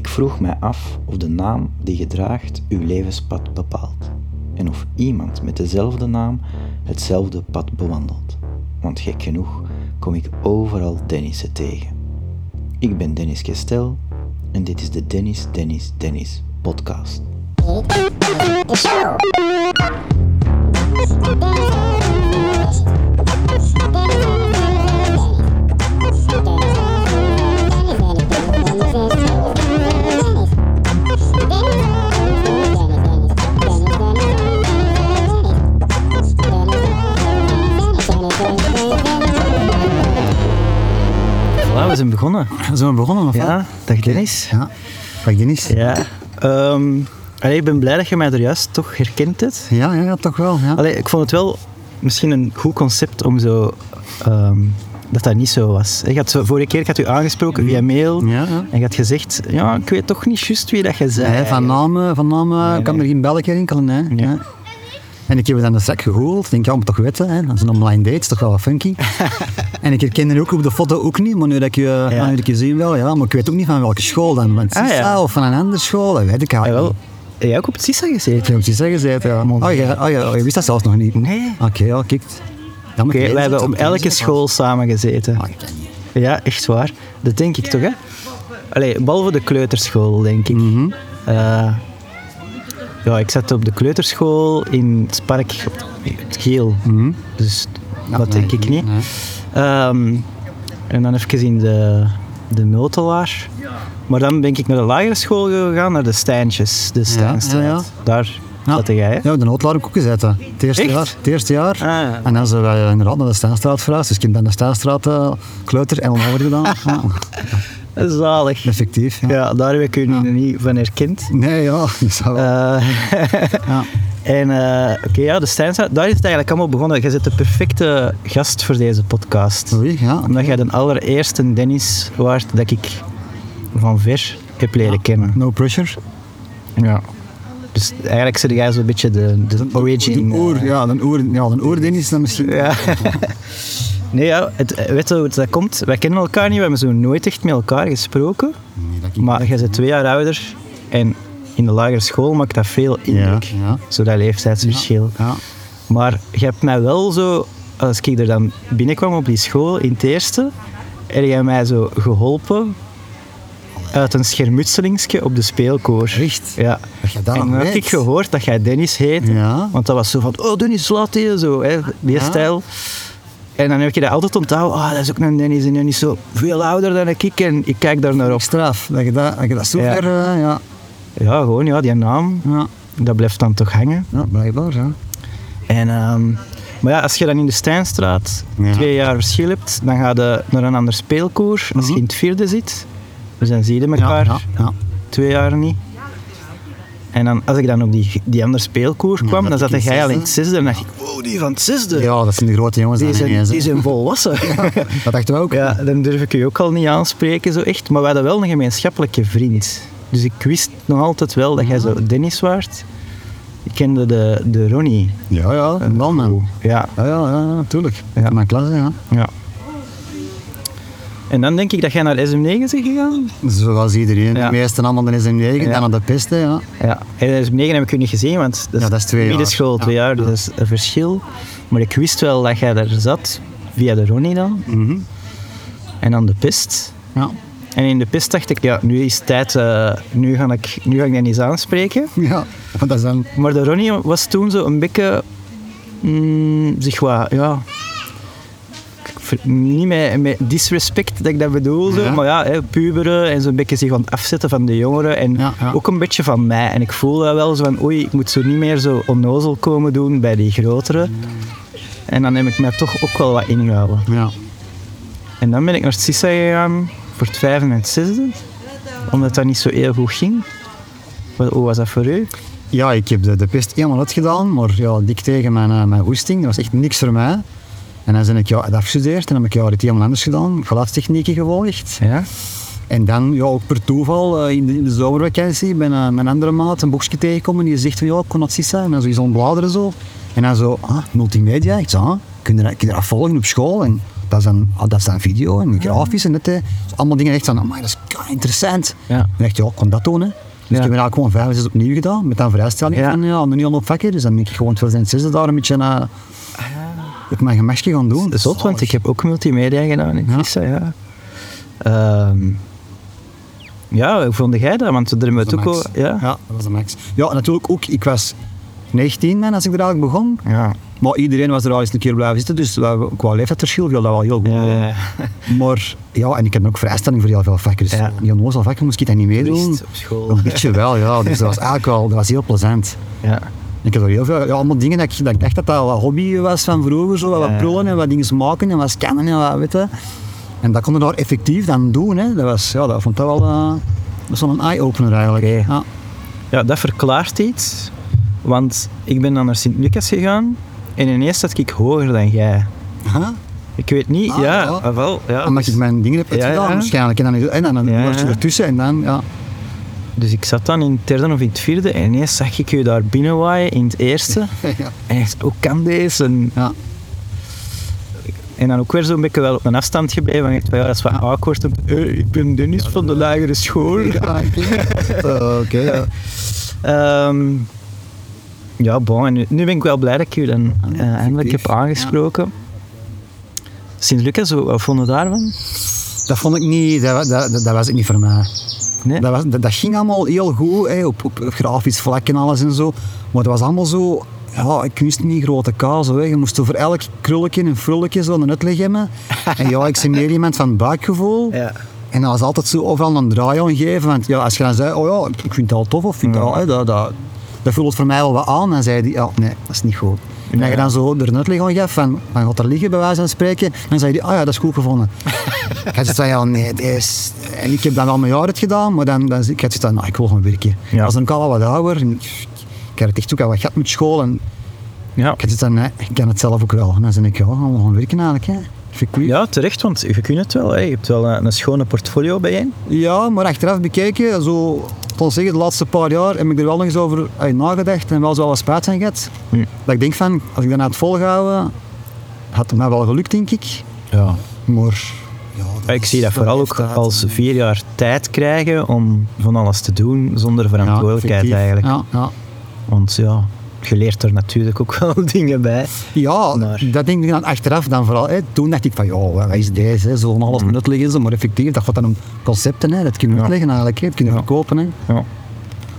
vroeg mij af of de naam die je draagt uw levenspad bepaalt. En of iemand met dezelfde naam hetzelfde pad bewandelt. Want gek genoeg kom ik overal Dennissen tegen. Ik ben Dennis Kestel en dit is de Dennis, Dennis, Dennis podcast. Voilà, we zijn begonnen. We zijn begonnen, of Ja, dag Dennis. Ja. Dag Dennis. Ja, Ja, ehm, allee, ik ben blij dat je mij er juist toch herkent hebt. ja, ja, toch wel. Ja. Allee, ik vond het wel misschien een goed concept om zo. ehm, dat dat niet zo was. Je had zo, vorige keer ik had u aangesproken via mail. Ja, ja. En je had gezegd: Ja, ik weet toch niet juist wie dat je zei. Nee, van naam, eh, van naam eh, kan er geen belletje rinkelen. Hè. Ja. nou- En ik heb het aan de zak gegoogeld. Ik denk, ja, moet toch weten. Hè. Dat is een online date, is toch wel wat funky. en ik herkende ook op de foto ook niet. Maar nu dat ik je, ja. nu dat ik je zie wel, ja. Maar ik weet ook niet van welke school dan. Want Ah, Sisa ja. of van een andere school, dat weet ik Ah, wel. eigenlijk niet. Jij ook op het CISA Ik gezeten? heb precies gezeten, ja. Oh, ja, oh, ja, oh, je wist dat zelfs nog niet? Nee. Oké, ja, kijk. Ja, maar Oké, ik weet wij het, hebben op ik weet elke het. school samen gezeten. Ah, ik weet het niet. Ja, echt waar. Dat denk ik toch, hè? Allee, behalve de kleuterschool, denk ik. Mhm. Eh, ja, ik zat op de kleuterschool in het park op het geel. Dus Mhm. Ja, dat nee, denk ik niet. nee. Ehm, en dan even in de, de Multelaar. Maar dan ben ik naar de lagere school gegaan, naar de Stijntjes. De Stijnstraat. ja, ja. Daar Ja. zat jij, hè? Ja, de noodlaar ook gezeten. Het eerste Echt? jaar. Het eerste jaar. Ah, ja. En dan zijn wij inderdaad naar de Staanstraat verhuisd. Dus ik heb dan de Staanstraat eh, kleuter en onhouden gedaan. ja. Zalig. Effectief. Ja. Ja, daar heb ik u nu niet van herkend. Nee, ja. Dat zou wel. Eh, ja. En eh, oké, ja, de Stijnstraat, daar is het eigenlijk allemaal begonnen. Jij bent de perfecte gast voor deze podcast. Oei, ja. Omdat jij de allereerste Dennis waart dat ik van ver heb leren kennen. No pressure. Ja. Dus eigenlijk zit jij zo'n beetje de, de origin. Die oer, eh, ja, een oer, ja, een oerdin is dan misschien. ja. nee, ja, het, eh, weet je hoe het dat komt? Wij kennen elkaar niet, we hebben zo nooit echt met elkaar gesproken. Nee, dat ik- Maar jij bent twee jaar ouder en in de lagere school maakt dat veel indruk. Ja, ja. Zo dat leeftijdsverschil. Ja. Maar je hebt mij wel zo, als ik er dan binnenkwam op die school in het eerste, heb jij mij zo geholpen uit een schermutselingsje op de speelkoor. Echt? Ja. Dat je dat en nog dan had weet. ik gehoord dat jij Dennis heet. Ja. Want dat was zo van, oh Dennis, laat die zo, hè, die Ja. stijl. En dan heb je dat altijd onthouden. Ah, dat is ook een Dennis en Dennis zo veel ouder dan ik en ik kijk daar naar op. Straf. Dat je dat, dat, je dat zo Ja. ver... eh, ja. Ja, gewoon, ja, die naam, Ja. dat blijft dan toch hangen. ja, blijkbaar. Ja. En, ehm, maar ja, als je dan in de Stijnstraat Ja. twee jaar verschil hebt, dan ga je naar een ander speelkoor. Als je in het vierde zit, dus dan zie je Mhm. Ja, elkaar ja, ja. twee jaar niet. En dan, als ik dan op die, die andere speelkoor kwam, dan dat ik in zat het jij al in het zesde. zesde. En dacht ik, wow, die van het zesde, ja, dat zijn de grote jongens die, dan zijn, ineens, hè. die zijn volwassen. Ja. Dat dachten we ook. dan durf ik u ook al niet aanspreken, zo echt. Maar we hadden wel een gemeenschappelijke vriend. Dus ik wist nog altijd wel dat jij zo Dennis waart. Ik kende de, de Ronnie. ja, ja, wel man. Ja, Ja, ja, ja, natuurlijk. Ja. Mijn klas, ja. Ja. En dan denk ik dat jij naar SM9 is gegaan? Zoals iedereen. Ja. De meesten allemaal dan is in negen, Ja. dan aan de pesten, ja. Ja. En SM9 heb ik u niet gezien, want dat is, Ja, dat is twee jaar. middenschool, twee Ja. jaar, dus dat is een verschil. Maar ik wist wel dat jij daar zat, via de Ronnie dan. Mhm. En dan de pist. Ja. En in de pist dacht ik, ja, nu is het tijd, eh, nu, ga ik, nu ga ik dat niet eens aanspreken. Ja, want dat is dan... Maar de Ronnie was toen zo een beetje... mm, zich wat, ja... ik ver- Niet met, met disrespect dat ik dat bedoel, zo, Ja. maar ja, hè, puberen en zo'n beetje zich aan het afzetten van de jongeren. En Ja, ja. ook een beetje van mij. En ik voel dat wel zo van, oei, ik moet zo niet meer zo onnozel komen doen bij die grotere. En dan heb ik mij toch ook wel wat ingehouden. Ja. En dan ben ik naar het CISA gegaan voor het vijfde en het zesde. Omdat dat niet zo heel goed ging. Wat- Hoe was dat voor u? Ja, ik heb de, de pest helemaal uitgedaan, maar ja, dik tegen mijn, eh, mijn hoesting. Dat was echt niks voor mij. En dan ben ik ja, afgestudeerd en dan heb ik ja, dit helemaal anders gedaan. Geluidstechnieken gevolgd. Ja? En dan, ja, ook per toeval, eh, in, de, in de zomervakantie, ben eh, mijn andere maat een boekje tegengekomen die zegt van, ja, ik kon dat zien zijn. En dan zoiets ontbladeren zo. En dan zo, ah, multimedia. Ik zei, ah, kun je dat, kun je dat volgen op school? En dat is dan, ah, dat is dan video en grafisch en dat. hè. Dus allemaal dingen echt van, maar dat is kei interessant. Ja. En echt, ja, ik kon dat tonen. Dus Ja. ik heb het eigenlijk gewoon vijf, zes opnieuw gedaan. Met dan vooruitstelling Ja. van, ja, nu al op vakken. Dus dan ben ik gewoon 2006 daar een beetje naar op mijn gemakje gaan doen. Dat is zot, want ik heb ook multimedia gedaan in Ja. Vissa, ja. Ehm, ja, hoe vond jij dat? Want daar hebben we het Dat was ook de al... max. Ja. ja, dat was de max. Ja, natuurlijk ook, ik was 19 man als ik er eigenlijk begon. Ja. Maar iedereen was er al eens een keer blijven zitten, dus eh, qua leeftijdsverschil viel dat wel heel goed. Ja, ja, ja. Maar ja, en ik heb ook vrijstelling voor heel veel vakken. Dus Ja. die onnozel vakken moest ik dat niet meedoen. Toerist op school. Een beetje wel, ja. Dus dat was eigenlijk wel, dat was heel plezant. ja. Ik heb er heel veel, ja, allemaal dingen dat ik, dat ik dacht dat dat wat hobby was van vroeger. Zo, wat Ja. prullen en wat dingen maken en wat scannen en wat weten. En dat kon je daar effectief dan doen. Hè. Dat was, ja, dat vond dat wel eh, dat is wel een eye-opener eigenlijk. Oké. Ja. Ja, dat verklaart iets. Want ik ben dan naar Sint-Lucas gegaan en ineens zat ik hoger dan jij. Huh? Ik weet niet, Ah, ja, ja. ah, wel, ja. Omdat ik Dus, mijn dingen heb Ja, uitgedaan ja. waarschijnlijk. En dan, en dan, dan Ja, word je ja. ertussen en dan, ja. dus ik zat dan in het derde of in het vierde en ineens zag ik je daar binnenwaaien in het eerste. ja. En ik dacht, hoe kan deze? En, ja. en dan ook weer zo'n beetje wel op een afstand gebleven. Want ik dacht, ja, dat is wat awkward. En, eh, ik ben Dennis van de lagere school. Ja, oké. Eh, Oké, ja. Ehm, ja, bon, en nu, nu ben ik wel blij dat ik je dan eh, eindelijk effectief. heb aangesproken. Sint-Lucas, hoe- wat vonden we daarvan? Dat vond ik niet, dat, dat, dat, dat was ik niet voor mij. Nee? Dat, was, dat, dat ging allemaal heel goed, hè, op, op, op grafisch vlak en alles en zo. Maar dat was allemaal zo, ja, ik wist niet grote kaas. Hè. Je moest over elk krulletje en frulletje zo een uitleg hebben. En ja, ik ben meer iemand van buikgevoel. Ja. En dat was altijd zo overal een draai aan geven. Want ja, als je dan zei, oh ja, ik- ik vind dat al tof of vind dat, al- hè, dat, dat, dat voelt voor mij wel wat aan. Dan zei hij, ja, nee, dat is niet goed. En als je dan zo er een uitleg aan geeft van, van gaat er liggen bij wijze van spreken, dan zei hij, ah ja, dat is goed gevonden. ik had zoiets van, ja, nee, dit is... En ik heb dan al mijn jaar het gedaan, maar dan, dan ik had zoiets van, nou, ik wil gewoon werken. Ja. Dat was dan ook al wat ouder. en ik, ik had het echt ook al wat gehad met school. En Ja. ik had zoiets van, nee, ik kan het zelf ook wel. En dan zei ik, ja, we gaan gewoon werken eigenlijk, hè. Vind ik goed. ja, terecht, want je kunt het wel. Hè. Je hebt wel eh, een, een schone portfolio bijeen. Ja, maar achteraf bekeken, zo, tot zeggen, de laatste paar jaar heb ik er wel nog eens over uit nagedacht en wel zo wat spijt van gehad. Hm. Dat ik denk van, als ik dat had volgehouden, had het mij wel gelukt, denk ik. Ja. Maar, ja, Ja, Ik zie dat is- vooral ook heeft dat- als vier jaar tijd krijgen om van alles te doen zonder Ja, verantwoordelijkheid effectief. eigenlijk. Ja, ja. Want ja, je leert er natuurlijk ook wel dingen bij. Ja, Maar- dat denk ik dan achteraf dan vooral. Hè. Toen dacht ik van, ja, wat is deze? hè. Zo van alles nuttig is, maar effectief, dat gaat dan om concepten, hè. dat kunnen we Hm. Ja. uitleggen eigenlijk, hè. dat kunnen we verkopen. Hè. Ja.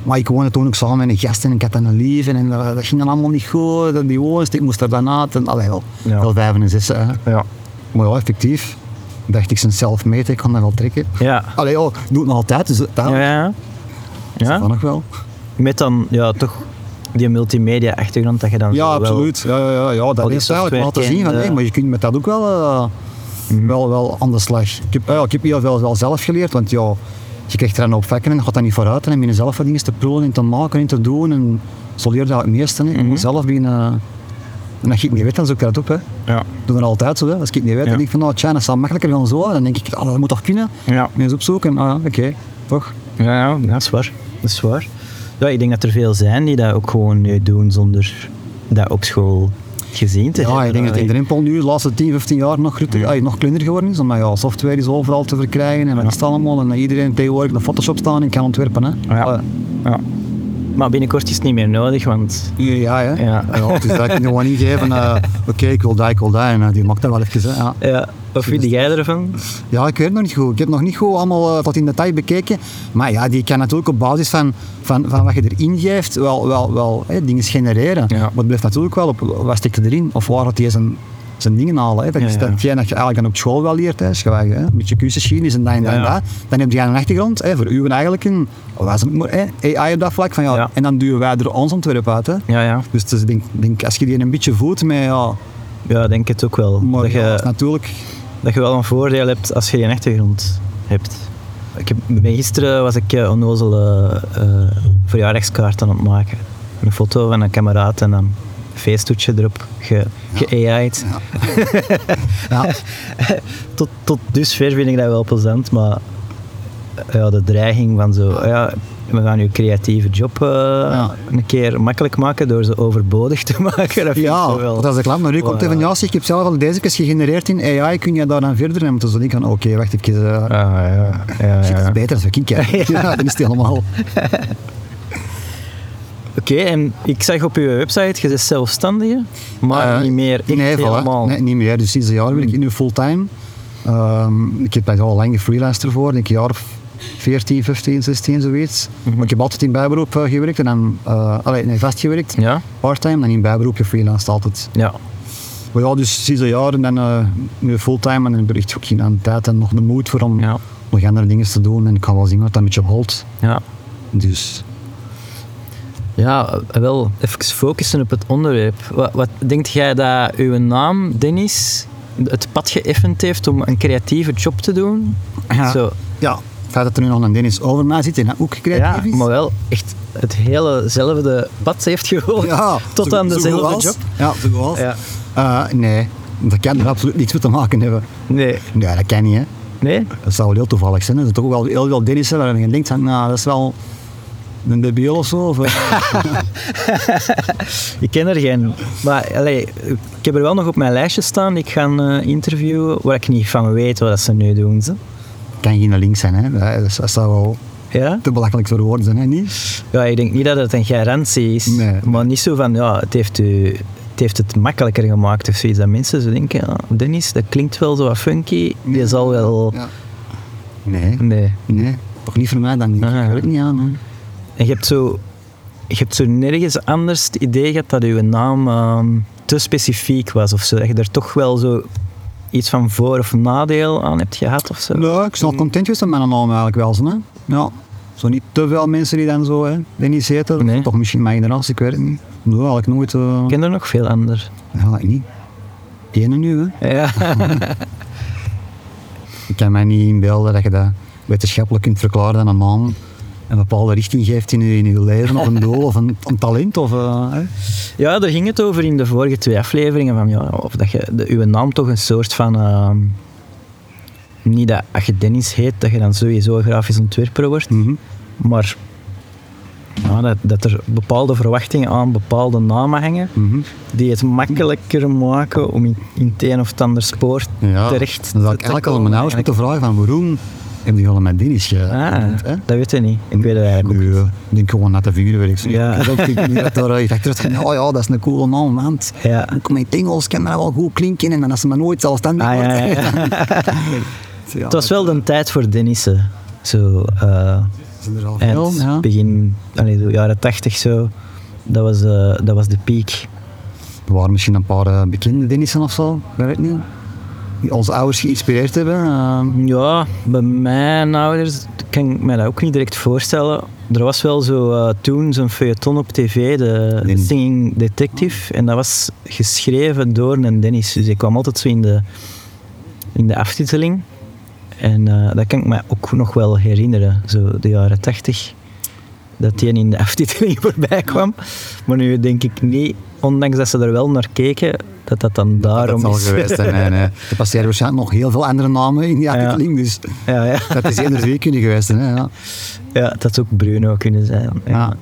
Maar ik woonde toen ook samen met een gast en ik had dan een lief en dat, dat ging dan allemaal niet goed. En die woonst, ik moest er dan uit. En, allee, wel, Ja. wel vijf en zes. Hè. Ja. Maar ja, effectief. Dacht ik, zijn self-made, ik kan dat wel trekken. Ja. Allee, ja, ik doe het nog altijd, dus dat, Ja, ja. dat ja. nog wel. Met dan ja, toch die multimedia-achtergrond dat je dan Ja, zo wel- absoluut. Ja, ja, ja, ja, dat die is software eigenlijk laten zien. Van, kent, hey, eh. maar je kunt met dat ook wel, eh, wel, wel aan de slag. Ik heb, ah ja, ik heb heel veel wel zelf geleerd, want ja, je krijgt er een op vakken en je gaat dat niet vooruit. En dan begin je zelf wat dingen te prullen en te maken en te doen. En zo leer je dat het meeste. hè. Mhm. Je moet zelf beginnen... eh, En als je het niet weet, dan zoek je dat op. Hè. Ja. Ik doe dat altijd zo. Hè. Als ik het niet weet, Ja. dan denk ik van, nou, tja, dat is wel makkelijker dan zo. Dan denk ik, ah, dat moet toch kunnen? Ja. En eens opzoeken. Ah, ja, oké. Toch? Ja, ja, dat is waar. Dat is waar. Ja, ik denk dat er veel zijn die dat ook gewoon nu doen zonder dat op school gezien te hebben. Ja, ik denk dat Allee. in drempel nu de laatste 10, 15 jaar nog, groter, ah, nog kleiner geworden is. Omdat ja, software is overal te verkrijgen en wat is het allemaal. En iedereen tegenwoordig naar Photoshop staan en kan ontwerpen. Hè. Ja. Ah, ja. Maar binnenkort is het niet meer nodig, want... hier, ja, hè. Ja. dus dat kan je gewoon niet geven. eh, Oké, ik wil dat, ik wil dat. En eh, die maakt dat wel even. Hè. Ja. Ja, wat vind jij ervan? ja, ik weet het nog niet goed. Ik heb het nog niet goed allemaal eh, tot in detail bekeken. Maar ja, die kan natuurlijk op basis van, van, van wat je erin geeft, wel, wel, wel hè, dingen genereren. Ja. Maar het blijft natuurlijk wel op wat stikt er erin of waar gaat hij zijn, zijn dingen halen. Hè. Dat is Ja, ja. datgene dat je eigenlijk dan op school wel leert. Hè. Schrijven, hè. Een beetje cursussen is en dat en dat en Ja, ja. dat. Dan heb je een achtergrond hè, voor u eigenlijk een wat is het, maar, hè, AI op dat vlak. Van, ja, Ja. En dan duwen wij er ons ontwerp uit. Hè. Ja, ja. Dus het is, denk, denk, als je die een beetje voelt met ja, Ja, ik denk het ook wel. maar dat, ja, dat is je, natuurlijk dat je wel een voordeel hebt als je geen achtergrond hebt. Ik heb, bij gisteren was ik eh, onnozele eh verjaardagskaart aan het maken. Een foto van een kameraad en een feesttoetje erop ge, ge-AI'd. ja, tot, tot dusver vind ik dat wel plezant, maar ja, de dreiging van zo, "Oh ja, we gaan je creatieve job eh, Ja. een keer makkelijk maken door ze overbodig te maken. Dat vind ik Ja, zo wel. dat is de klant. Maar nu komt Voilà. hij van, ja, zie, ik heb zelf al deze keer gegenereerd in AI, kun je daar dan verder nemen? Toen zei ik van, oké, wacht even, eh, Ah, ja, ja, shit, dat ja. is beter als ik kijk. Ja. dan is het helemaal... Oké, en ik zag op uw website, je is zelfstandige, maar Eh, niet meer echt nee, voilà. helemaal. Nee, niet meer. Dus sinds een jaar ben ik Hmm. nu fulltime. Ehm, ik heb daar al lang freelancer voor, denk ik een jaar of 14, 15, 16, zoiets. Mhm. Maar ik heb altijd in bijberoep eh, gewerkt en dan eh allee, nee, vastgewerkt. Ja? Parttime, dan in bijberoep gefreelanced altijd. Ja. Maar ja, dus sinds een jaar en dan eh, nu fulltime en dan heb ik echt ook geen aan tijd en nog de moed voor om Ja. nog andere dingen te doen. En ik ga wel zien wat dat met je holt. Ja. Dus Ja, wel, even focussen op het onderwerp. Wat, wat denkt jij dat uw naam, Dennis, het pad geëffend heeft om een creatieve job te doen? Ja. Zo, ja, het feit dat er nu nog een Dennis over mij zit en dat ook ja creatief is. maar wel echt het helezelfde pad heeft gevolgd Ja, tot zo- aan zo goed dezelfde als. job. Ja, zo goed als. Ja. Eh, nee, dat kan er absoluut niets mee te maken hebben. Nee. Nee, dat kan niet, hè. Nee? Dat zou wel heel toevallig zijn. hè. Er zijn toch wel heel veel Dennissen waarvan je denkt, van, nou, dat is wel een debiel of zo. Of, eh, Ik ken er geen. Maar allee, ik heb er wel nog op mijn lijstje staan die ik ga eh, interviewen, waar ik niet van weet wat dat ze nu doen. Ze. kan geen link zijn, hè. Dat, is- dat zou wel Ja? te belachelijk voor woorden zijn, hè, niet? ja, ik denk niet dat het een garantie is. Nee. Maar niet zo van, ja, het heeft, u, het heeft het makkelijker gemaakt of zoiets. Dat mensen zo denken, ja, Dennis, dat klinkt wel zo wat funky. Je zal wel... Ja. Nee, Nee. nee. Toch niet voor mij dan. niet. Ah, ja. Ik weet niet aan, hè. En je hebt zo... Je hebt zo nergens anders het idee gehad dat uw naam ehm, te specifiek was of zo. Dat je er toch wel zo iets van voor- of nadeel aan hebt gehad of zo. Nee, ik snap content geweest met mijn naam eigenlijk wel. zo, Hè. Ja. Zo niet te veel mensen die dan zo hè, Dennis heten. Nee. Toch misschien mijn generatie, ik weet het niet. Nee, eigenlijk nooit. eh, Ik ken er nog veel anders. Eigenlijk niet. Ene nu, hè. Ja. Ik kan mij niet inbeelden dat je dat wetenschappelijk kunt verklaren dat een man een bepaalde richting geeft in je, in je leven, of een doel, of een, een talent, of... eh, hè. ja, daar ging het over in de vorige twee afleveringen. Van, ja, of dat je de, uw naam toch een soort van... ehm, niet dat als je Dennis heet, dat je dan sowieso een grafisch ontwerper wordt. Mhm. Maar ja, dat, dat er bepaalde verwachtingen aan bepaalde namen hangen. Mhm. Die het makkelijker maken om in, in het een of het ander spoor Ja, terecht Dan zou ik te eigenlijk al komen, aan mijn ouders moeten vragen van waarom heb je al met Dennis ge... Ah, hè? dat weet je niet. Ik weet het eigenlijk ook Nee, Eh, ik denk gewoon naar de vingerwerk. Ja. Ik denk niet dat daar iets achter zit. Oh ja, dat is een coole naam, want Ja. ook mijn Engels kan dat wel goed klinken en dan als ze me nooit zelfstandig Ah, ja, wordt. ja, ja. Ja, Het was wel de tijd voor Dennissen. Zo, eh, zijn er al veel, eind, ja. begin, allee, zo jaren tachtig zo. Dat was, eh, dat was de piek. Er waren misschien een paar eh, bekende Dennissen of zo, ik weet het niet. Die onze ouders geïnspireerd hebben. eh, Ehm, Ja, bij mijn ouders kan ik me dat ook niet direct voorstellen. Er was wel zo eh, toen zo'n feuilleton op tv, de, de Nee. Singing Detective. En dat was geschreven door een Dennis. Dus ik kwam altijd zo in de, in de aftiteling. En eh, dat kan ik me ook nog wel herinneren, zo de jaren tachtig. Dat die in de aftiteling voorbij kwam. Maar nu denk ik niet, ondanks dat ze er wel naar keken, dat dat dan daarom dat zal is. geweest zijn. Nee, nee. Er passeren waarschijnlijk nog heel veel andere namen in die aftiteling, dus ja, ja. dat is één of twee kunnen geweest zijn. Hè, ja. Ja, dat had ook Bruno kunnen zijn. Ja.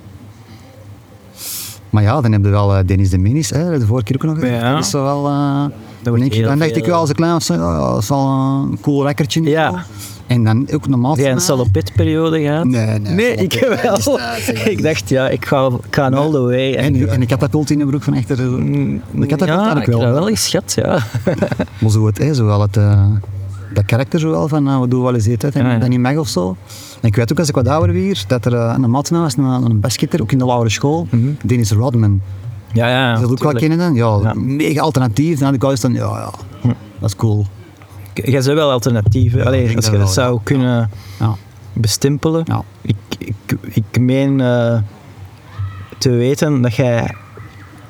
Maar ja, dan heb je wel eh, Dennis de Minis, hè, de vorige keer ook nog. gezegd. Ja. Dat is zo wel, eh, dan, wordt denk ik- heel dan dacht veel- eh, ik wel als een klein was, ja, dat is wel een cool rekkertje. Ja. En dan ook normaal. Heb jij een salopetperiode gehad? Nee, nee. eh, ik wel. ik dacht, ja, ik ga, ik ga all the way. En, En, en ik had dat pult in de broek van achter. Ik had dat Mm, ja, Ik eigenlijk wel. heb dat wel eens schat, ja. Maar zo het, hè, zo wel het, eh, dat karakter zo wel van, eh, we doen wel eens dit, hè, en Ja, ja. dat niet mag of zo. En ik weet ook als ik wat ouder weer, dat er eh, een maat van mij was, een, een basketter, ook in de lagere school, Mhm. Dennis Rodman. Ja, ja. Is dat ook wel tuurlijk. kennen dan? Ja, Ja. mega alternatief. Dan had ik al eens dan, ja, ja, dat is cool. Jij zou wel alternatieven. ik Allee, denk als je dat dat wel, zou kunnen Ja. bestempelen. Ja. Ik, ik, ik meen eh, te weten dat jij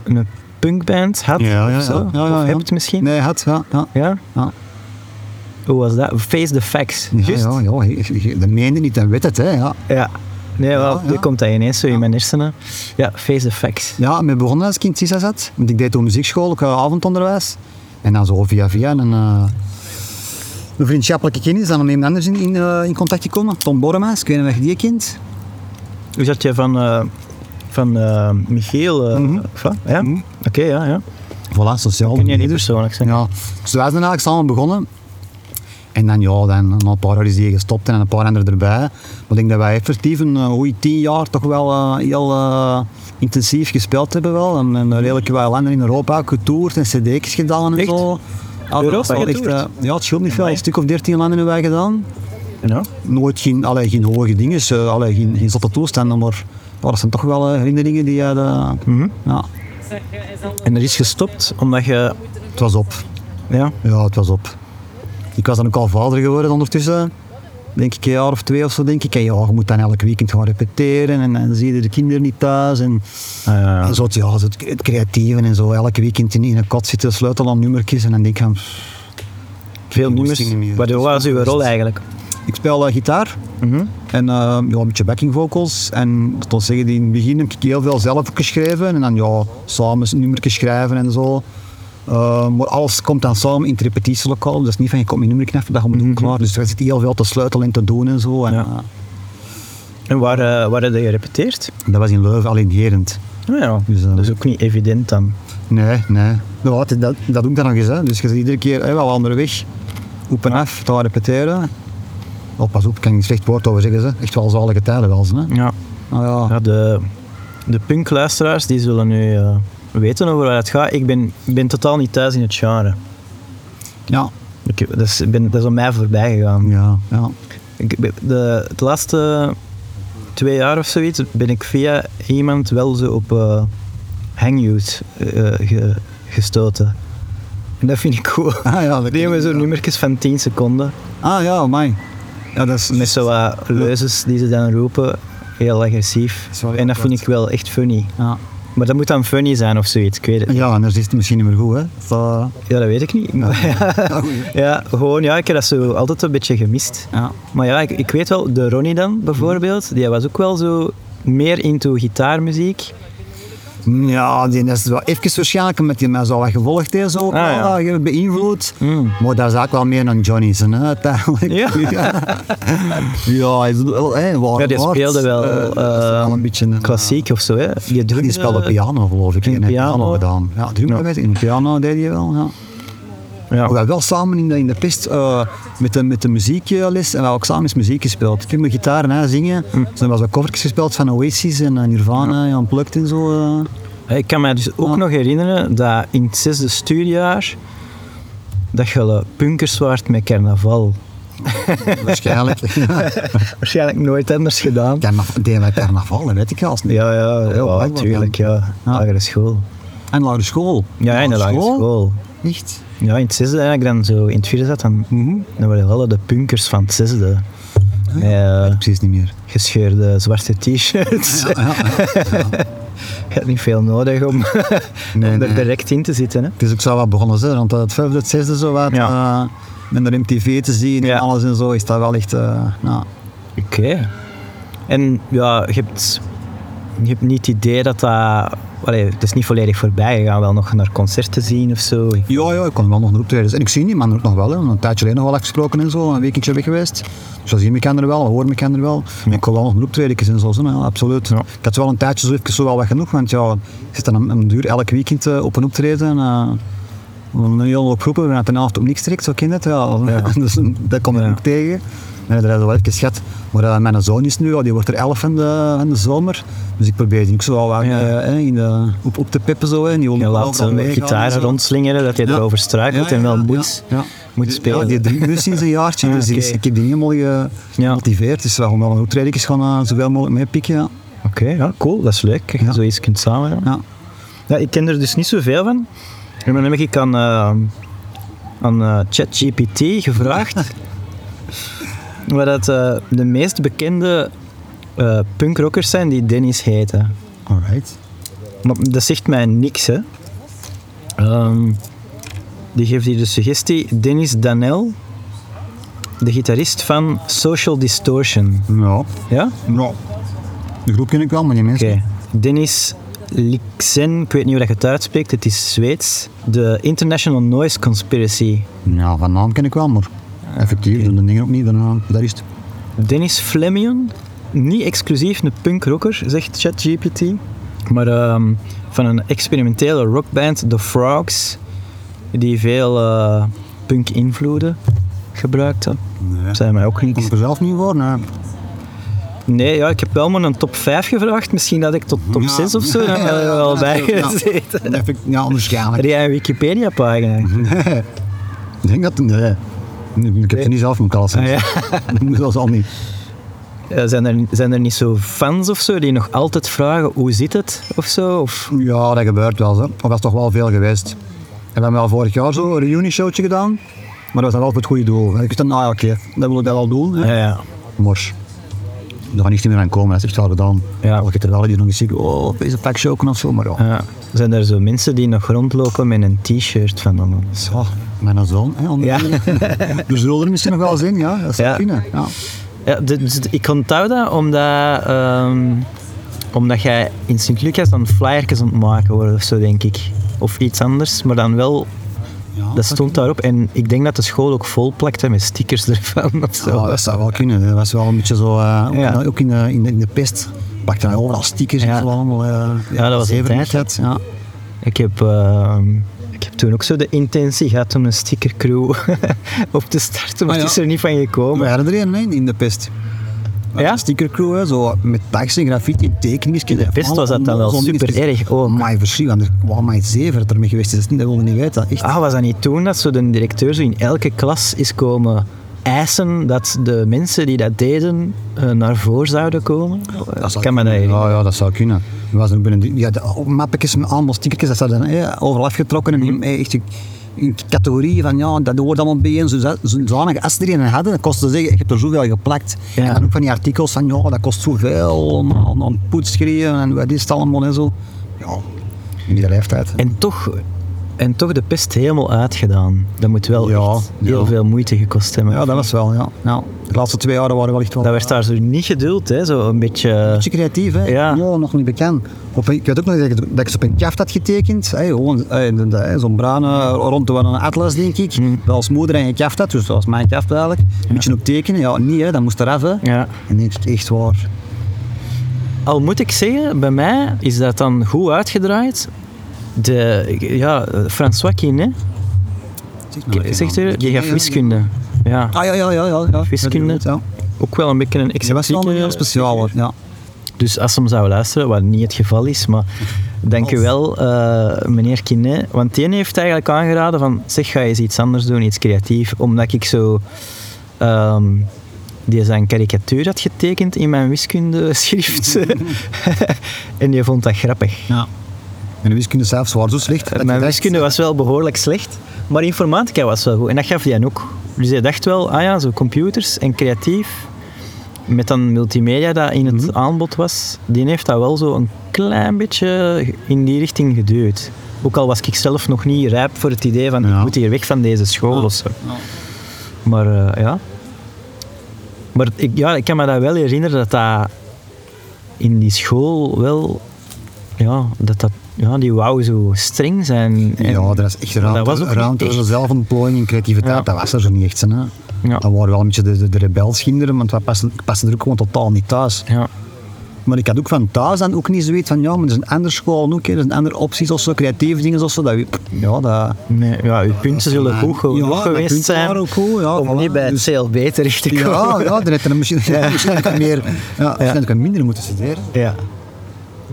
een punkband had Ja, ja, of zo. ja. Ja, ja, of ja. hebt misschien. Nee, had, ja. ja. Ja? Ja. Hoe was dat? Face the facts. Ja, Juist. ja, ja, je- je- dat meende niet, dan weet het, hè. Ja, Ja. Nee, wel, Ja, ja. nu komt dat ineens zo in mijn hersenen. Ja, face effects. ja met begonnen als ik in het CISA zat. Want ik deed toen muziekschool, ook eh, avondonderwijs. En dan zo via via. En, eh, Een vriendschappelijke kennis, dan om iemand anders in, in, eh, in contact te komen. Tom Borema's, ik weet niet of je die kent. Hoe zat je van, eh, van eh, Michiel? eh, Mhm. van- Ja? Mhm. Oké, ja, ja. Voilà, sociaal. Kun je niet persoonlijk zijn? Ja, dus wij zijn eigenlijk samen begonnen. En dan, ja, dan na een paar jaar is die gestopt en een paar anderen erbij. Maar ik denk dat wij effectief een eh, goeie tien jaar toch wel eh, heel eh, intensief gespeeld hebben wel. En, en redelijk wel landen in Europa ook getoerd en cd's gedaan en Echt? zo. Altijd Europa wel getoerd? eh, ja, het scheelt niet veel. Amai. Een stuk of dertien landen hebben wij gedaan. Ja. Nooit geen, allee, geen hoge dingen, eh, allee, geen, geen zotte toestanden, maar ja, dat zijn toch wel eh, herinneringen die je... Mhm. ja, En dat is gestopt omdat je... het was op. Ja, Ja, het was op. Ik was dan ook al vader geworden ondertussen. Denk ik een jaar of twee of zo, denk ik. En ja, je moet dan elk weekend gaan repeteren en dan zie je de kinderen niet thuis. En, Ah, ja, ja. en zo, het- ja, zo het, het creatieve en zo. Elke weekend in, in een kot zitten, sleutelen aan nummertjes. En dan denk ik van, pff, veel die nummers. moesten niet meer. Wat wat was uw rol eigenlijk? ik speel eh, gitaar Mhm. en eh, ja, een beetje backing vocals. En dat wil zeggen, in het begin heb ik heel veel zelf ook geschreven. En dan ja, samen nummertjes schrijven en zo. Eh, maar alles komt dan samen in het repetitielokaal. Dus niet van je komt mijn nummer knappen, dat gaan we doen klaar. Dus er zit heel veel te sleutelen en te doen en zo. En, Mhm. Ja. eh, En waar, eh waar heb je gerepeteerd? Dat was in Leuven, alleen Herend. Ah, ja. Dus, eh, Dat is ook niet evident dan. Nee, nee. Nou, wat, dat, dat doe ik dan nog eens. Hè. Dus je zit iedere keer hè, wel onderweg, op en af, te gaan repeteren. Oh, pas op, ik kan geen slecht woord over zeggen. Ze. Echt wel zalige tijden wel. Ze, hè. Ja. Nou ja. Ja, de, de punkluisteraars die zullen nu eh, weten over waar het gaat. Ik ben, ben totaal niet thuis in het genre. Ja. Ik, dat, is, ik ben, dat is aan mij voorbij gegaan. Ja, ja. Ik, ben- de, de laatste twee jaar of zoiets ben ik via iemand wel zo op eh Hangout eh, ge- gestoten. En dat vind ik cool. Ah ja, dat Die hebben zo nummertjes van 10 seconden. Ah ja, amai. Ja, dat is... Met zo wat leuzes die ze dan roepen. Heel agressief. is wel En dat vind apart. ik wel echt funny. Ja. Maar dat moet dan funny zijn of zoiets. Ik weet het. ja, anders is het misschien niet meer goed, hè. Zo. Ja, dat weet ik niet. Ja, goed, hè. Ja, gewoon, ja, ik heb dat zo altijd een beetje gemist. ja. Maar ja, ik, ik weet wel, de Ronnie dan bijvoorbeeld, die was ook wel zo meer into gitaarmuziek. Ja, die is wel even waarschijnlijk met die mij zo wat gevolgd heeft, zo. Ah, ja. Mm. ja, beïnvloed. Maar dat is eigenlijk wel meer een Johnny's, hè, uiteindelijk. Ja. ja, hij is wel, hè, waar, Ja, die waar. speelde wel, Eh, dat is wel eh, een beetje een, Klassiek of zo, hè. Die, eh, drumde- die speelde piano, geloof ik. in En heeft piano. gedaan. Ja, drummen Ja. weet ik. In piano deed hij wel, ja. We Ja. hebben wel samen in de, in de pist eh, met, de, met de muziekles en we hebben ook samen eens muziek gespeeld. Ik heb mijn gitaar en hij zingen. dus Ze hebben wel zo covertjes gespeeld van Oasis en eh, Nirvana en Unplugged en zo. eh. Ik kan mij dus ook Ja. nog herinneren dat in het zesde studiejaar dat je eh, punkers waard met carnaval. Waarschijnlijk. Waarschijnlijk nooit anders gedaan. Carnaval, deden wij carnaval, dat weet ik als niet. Ja, ja, ja, blijkbaar natuurlijk, ja. Ja. Lagere school. En lagere school. Ja, in de lagere school. Echt? Ja, in het zesde, en als ik dan zo in het vierde zat, dan, Mhm. dan waren we wel de punkers van het zesde. Ah, Met, eh, Precies niet meer. gescheurde zwarte t-shirts. Ja, ja, Ah, ja. Je hebt niet veel nodig om, Nee, om er nee. direct in te zitten. Hè. Het is ook zo wat begonnen, hè, want eh, het vijfde, het zesde zo wat. Ja. eh, met de MTV te zien Ja. en alles en zo, is dat wel echt... eh, nou, Oké. En ja, je hebt, je hebt niet het idee dat dat... Allee, het is niet volledig voorbij. Je gaat wel nog naar concerten zien of zo. Ja, ja, ik kon wel nog naar optredens. En ik zie die man ook nog wel. Hè. Een tijdje alleen nog wel afgesproken en zo. Een weekendje weg geweest. Dus dat zien we elkaar er wel, we horen elkaar er wel. En ik kon wel nog naar optredens en zo. zo, Ja, absoluut. Ja. Ik had wel een tijdje zo even zo wel wat genoeg. Want ja, ik zit dan een duur elk weekend eh, op een optreden. En, eh, we hebben een hele hoop groepen. We hadden de avond op niks trekt, zo kind het. Ja. dus dat kom ik Ja. ook tegen. En dat hebben we wel even gehad. Maar eh, mijn zoon is nu, ja, die wordt er elf in de, in de zomer. Dus ik probeer die ook zo wel wat, Ja. eh, hè, in de, op, op te pippen. Zo, hè. En die wil Je ook laat overal zo'n meegaan en gitaar zo. rondslingeren, dat je Ja. erover struikelt en wel moet, moet ja. moet spelen. Ja, die drinkt nu sinds een jaartje, Ah, dus die is- oké. ik heb die helemaal ge- Ja. gemotiveerd. Dus we gaan wel een optreden gaan eh, zoveel mogelijk meepikken. Ja. Oké, ja, cool. Dat is leuk. Dat je Ja. zoiets kunt samen doen. Ja. Ja, ik ken er dus niet zoveel van. En dan heb ik aan, eh, aan eh, ChatGPT gevraagd wat dat, eh, de meest bekende eh, punkrockers zijn die Dennis heten. Alright. Maar dat zegt mij niks, hè. Ehm, die geeft hier de suggestie Dennis Danel, de gitarist van Social Distortion. Ja. Ja? ja. De groep ken ik wel, maar die Oké. mensen. Dennis Lixen, ik weet niet hoe dat je het uitspreekt, het is Zweeds. De International Noise Conspiracy. Ja, van naam ken ik wel, maar. Ah, Effectief, doen de dingen ook niet, daarna, daar is het. Dennis Flemion, niet exclusief een punkrocker, zegt ChatGPT, maar ehm, van een experimentele rockband, The Frogs, die veel eh, punk-invloeden gebruikte. Nee. Zijn mij ook Komt niet. er zelf niet voor, nee. Nee, ja, ik heb wel maar een top 5 gevraagd. Misschien dat ik tot top Ja. 6 of zo dan Ja, heb ja, er wel ja, bij ja. gezeten. Dat vind ik ja, Heb onwaarschijnlijk. jij een Wikipedia-pagina? Ik denk dat... Nee. Ik heb ze niet zelf moeten kalsen. Ah, ja. dus- Dat moet zelfs al niet. Eh, zijn, er, zijn er niet zo fans of zo die nog altijd vragen hoe zit het of zo? Of, Ja, dat gebeurt wel. Hè. Maar dat is toch wel veel geweest. En we hebben al vorig jaar zo'n reunieshowtje gedaan. Maar dat was dan wel op het goede doel. hè. Ik dacht, nou ja, oké, dat wil ik dat wel doen. Hè. ja, ja. Maar daar gaat niks meer aan komen. Dat is echt al gedaan. Ja. Al gaat er wel die nog eens zeggen, oh, deze pak show of zo. Maar ja. Ja. Zijn er zo mensen die nog rondlopen met een t-shirt van ons? Oh, mijn zoon, hè, onder Ja. andere. Dus zullen er misschien nog wel eens in, ja. Dat zou Ja. kunnen. Ja. Ja, dus ik onthoud dat omdat, ehm, omdat jij in Sint-Lucas dan flyertjes aan het maken wordt of zo, denk ik. Of iets anders, maar dan wel, Ja, dat stond daarop. En ik denk dat de school ook vol plakte met stickers ervan of zo. Ja, Oh, dat zou wel kunnen. hè. Dat was wel een beetje zo, eh, ook, Ja. in, ook in de, in de, in de pest. Pakte hij overal stickers Ja. en zo allemaal. eh, Ja, dat was een zeven- tijd, Ja. Ik heb, ehm, ik heb toen ook zo de intentie gehad om een stickercrew op te starten, maar Ah, ja. het is er niet van We gekomen. hadden er een hè, in de pest. Met Ja? een stickercrew, hè, zo met tekst en graffiti, tekeningen. De pest was dat dan wel super erg ook. Maar verschil, er kwam maar zeven dat ermee geweest is. Dat, is niet, dat wilde niet weten. Echt. Ah, was dat niet toen dat zo de directeur zo in elke klas is komen eisen dat de mensen die dat deden eh, naar voren zouden komen? Dat Dat zou kan me dat kunnen. herinneren. Ja, ja, dat zou kunnen. We was er ook binnen, ja, de oh, mappetjes met allemaal stickertjes, dat zijn dan eh, overal afgetrokken. En Mhm. eh, echt in- in categorieën van, ja, dat hoort allemaal bij. En zo, zo- zodanig als ze er een hadden, dat kostte ze zeggen, ik heb er zoveel geplakt. Ja. En dan ook van die artikels van, ja, dat kost zoveel. En dan- dan poetschreeuwen en wat is het allemaal en zo. Ja, in die leeftijd. En toch, en toch de pest helemaal uitgedaan. Dat moet wel Ja, echt heel ja. veel moeite gekost hebben. Ja, dat was wel, ja. Nou, de laatste twee jaren waren wel echt wel... Dat werd daar zo niet geduld, hè? Zo een beetje. beetje creatief, hè? Ja. nog niet bekend. Op, een- ik weet ook nog dat ik, dat ik ze op een kaft had getekend. Hè, gewoon hè, de- de- hè, zo'n bruine rond een atlas, denk ik. Mm. Dat als moeder en kaft had, dus dat was mijn kaft eigenlijk. Een beetje op tekenen, ja, niet, hè, dat moest eraf. Hè. Ja. En dit is echt waar. Al moet ik zeggen, bij mij is dat dan goed uitgedraaid. De, ja, François Kine, Zeg zegt u, die gaf wiskunde. Ja, Ah, ja, ja, ja. ja, ja. Wiskunde. eh, Ja. ook wel een beetje een Ze was wel een heel speciaal, hoor. ja. Dus als ze hem zou luisteren, wat niet het geval is, maar dank u wel, eh, meneer Kiné. Want die heeft eigenlijk aangeraden van, zeg, ga eens iets anders doen, iets creatief. Omdat ik zo... ehm, die zijn karikatuur had getekend in mijn wiskundeschrift. en die vond dat grappig. ja. En de wiskunde zelfs was zo slecht. dat je Eh, mijn dacht- wiskunde was wel behoorlijk slecht, maar informatica was wel goed. En dat gaf hij ook. Dus hij dacht wel, ah ja, zo computers en creatief. Met dan multimedia dat in het Mhm. aanbod was. Die heeft dat wel zo een klein beetje in die richting geduwd. Ook al was ik zelf nog niet rijp voor het idee van, Ja. ik moet hier weg van deze school of zo. Maar eh, ja. Maar ik, ja, ik kan me dat wel herinneren dat dat in die school wel... Ja, dat dat... Ja, die wou zo streng zijn. En- Ja, dat is echt ruimte, dat was ook niet ruimte echt. tussen zelfontplooiing en creativiteit. Ja. Dat was er zo niet echt. Hè. Ja. Dat waren wel een beetje de, de, de rebelschinderen, want we passen, ik paste er ook gewoon totaal niet thuis. Ja. Maar ik had ook van thuis dan ook niet zoiets van, ja, maar er zijn andere scholen ook, hè, er zijn andere opties of zo, creatieve dingen of zo. Dat, we- ja, dat... Nee, ja, uw punten zullen goed ge- Ja, genoeg mijn geweest punten zijn waren ook goed, ja, om voilà. niet bij het Dus- CLB terecht te komen. Ja, ja, dan had er misschien, misschien ook meer, ja, misschien had ik wat minder moeten studeren. Ja.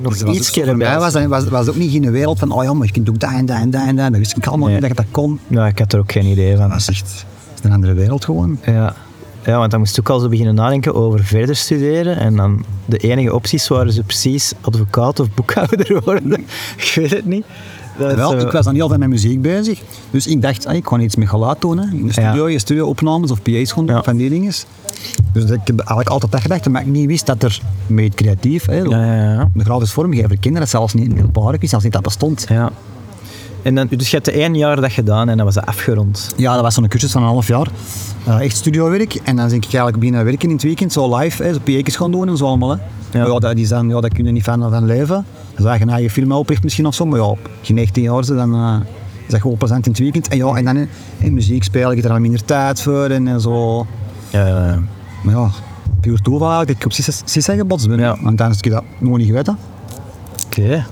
Nog Dus dat was iets ook- keer Voor mij was, dat- was, was ook niet in de wereld van, oh ja, maar je kunt ook dat en dat en dat en dat. Dat wist ik allemaal Nee. niet dat je dat kon. Nou, ik had er ook geen idee van. Dat is echt dat is een andere wereld gewoon. Ja. ja, want dan moest ik ook al zo beginnen nadenken over verder studeren. En dan de enige opties waren ze precies advocaat of boekhouder worden. ik weet het niet. Dat Wel, zo- ik was dan heel veel met muziek bezig. Dus ik dacht, ah, ik ga iets met geluid doen. Hè. In de studio, je studio-opnames of PA's gewoon, Ja. van die dingen. Dus ik heb eigenlijk altijd dat gedacht, maar ik niet wist dat er met het creatief, hè, Ja, ja, ja. de grafisch vormgever, kinderen, dat zelfs niet in het park, ik wist zelfs niet dat bestond. ja. En dan, dus je hebt de één jaar dat gedaan en dan was dat afgerond. Ja, dat was zo'n cursus van een half jaar. Eh, echt studiowerk. En dan ben ik eigenlijk beginnen werken in het weekend, zo live, hè, zo PA's gaan doen en zo allemaal. Hè. Ja. Maar Ja. dat, die zijn, ja, daar kun je niet van, van leven. Dan zag je een eigen film opricht misschien of zo, maar ja, op je 19 jaar, ze, dan eh, is dat gewoon plezant in het weekend. En ja, en dan in, in muziek spelen, ik heb er al minder tijd voor en, en zo. Ja, ja, ja. Maar ja, puur toeval eigenlijk dat ik op Sissa- Sissa gebotst ben. Ja. Want dan is ik dat nog niet geweten. Oké.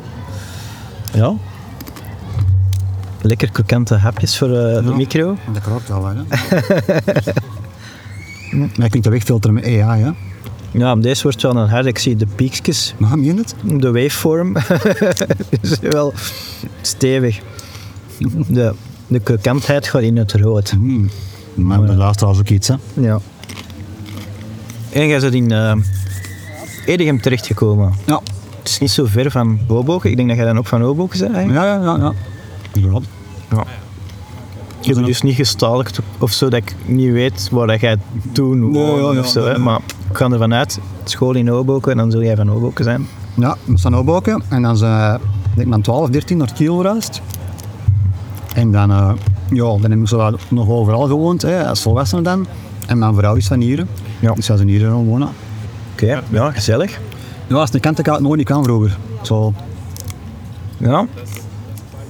Ja. Lekker krokante hapjes voor eh, de Ja. micro. Dat klopt wel, hè. Maar je kunt dat wegfilteren met AI, hè. Ja, deze wordt wel een hard. Ik zie de piekjes, Maar meen je het? de waveform. is wel stevig. De, de krokantheid gaat in het rood. Hmm. Maar de luisteraars ook iets, hè. Ja. En jij bent in eh Edegem terechtgekomen. Ja. Het is niet zo ver van Hoboken. Ik denk dat jij dan ook van Hoboken bent eigenlijk. Ja, ja, ja. ja. Klopt. Ik heb dus niet gestalkt of zo, dat ik niet weet waar dat jij toen Nee, woonde ja, ja, of zo. nee, hè. nee. Maar ik ga ervan uit, school in Hoboken, en dan zul jij van Hoboken zijn. Ja, we staan opboken en dan zijn eh, denk ik, dan 12, 13 naar Kiel verhuisd. En dan, eh, ja, dan hebben we zo wat nog overal gewoond, hè, als volwassene dan. En mijn vrouw is van hier, Ja. dus zij is in hier gaan wonen. Oké, ja, gezellig. Ja, als een kant ik het nooit niet kwam vroeger. Zo, Ja.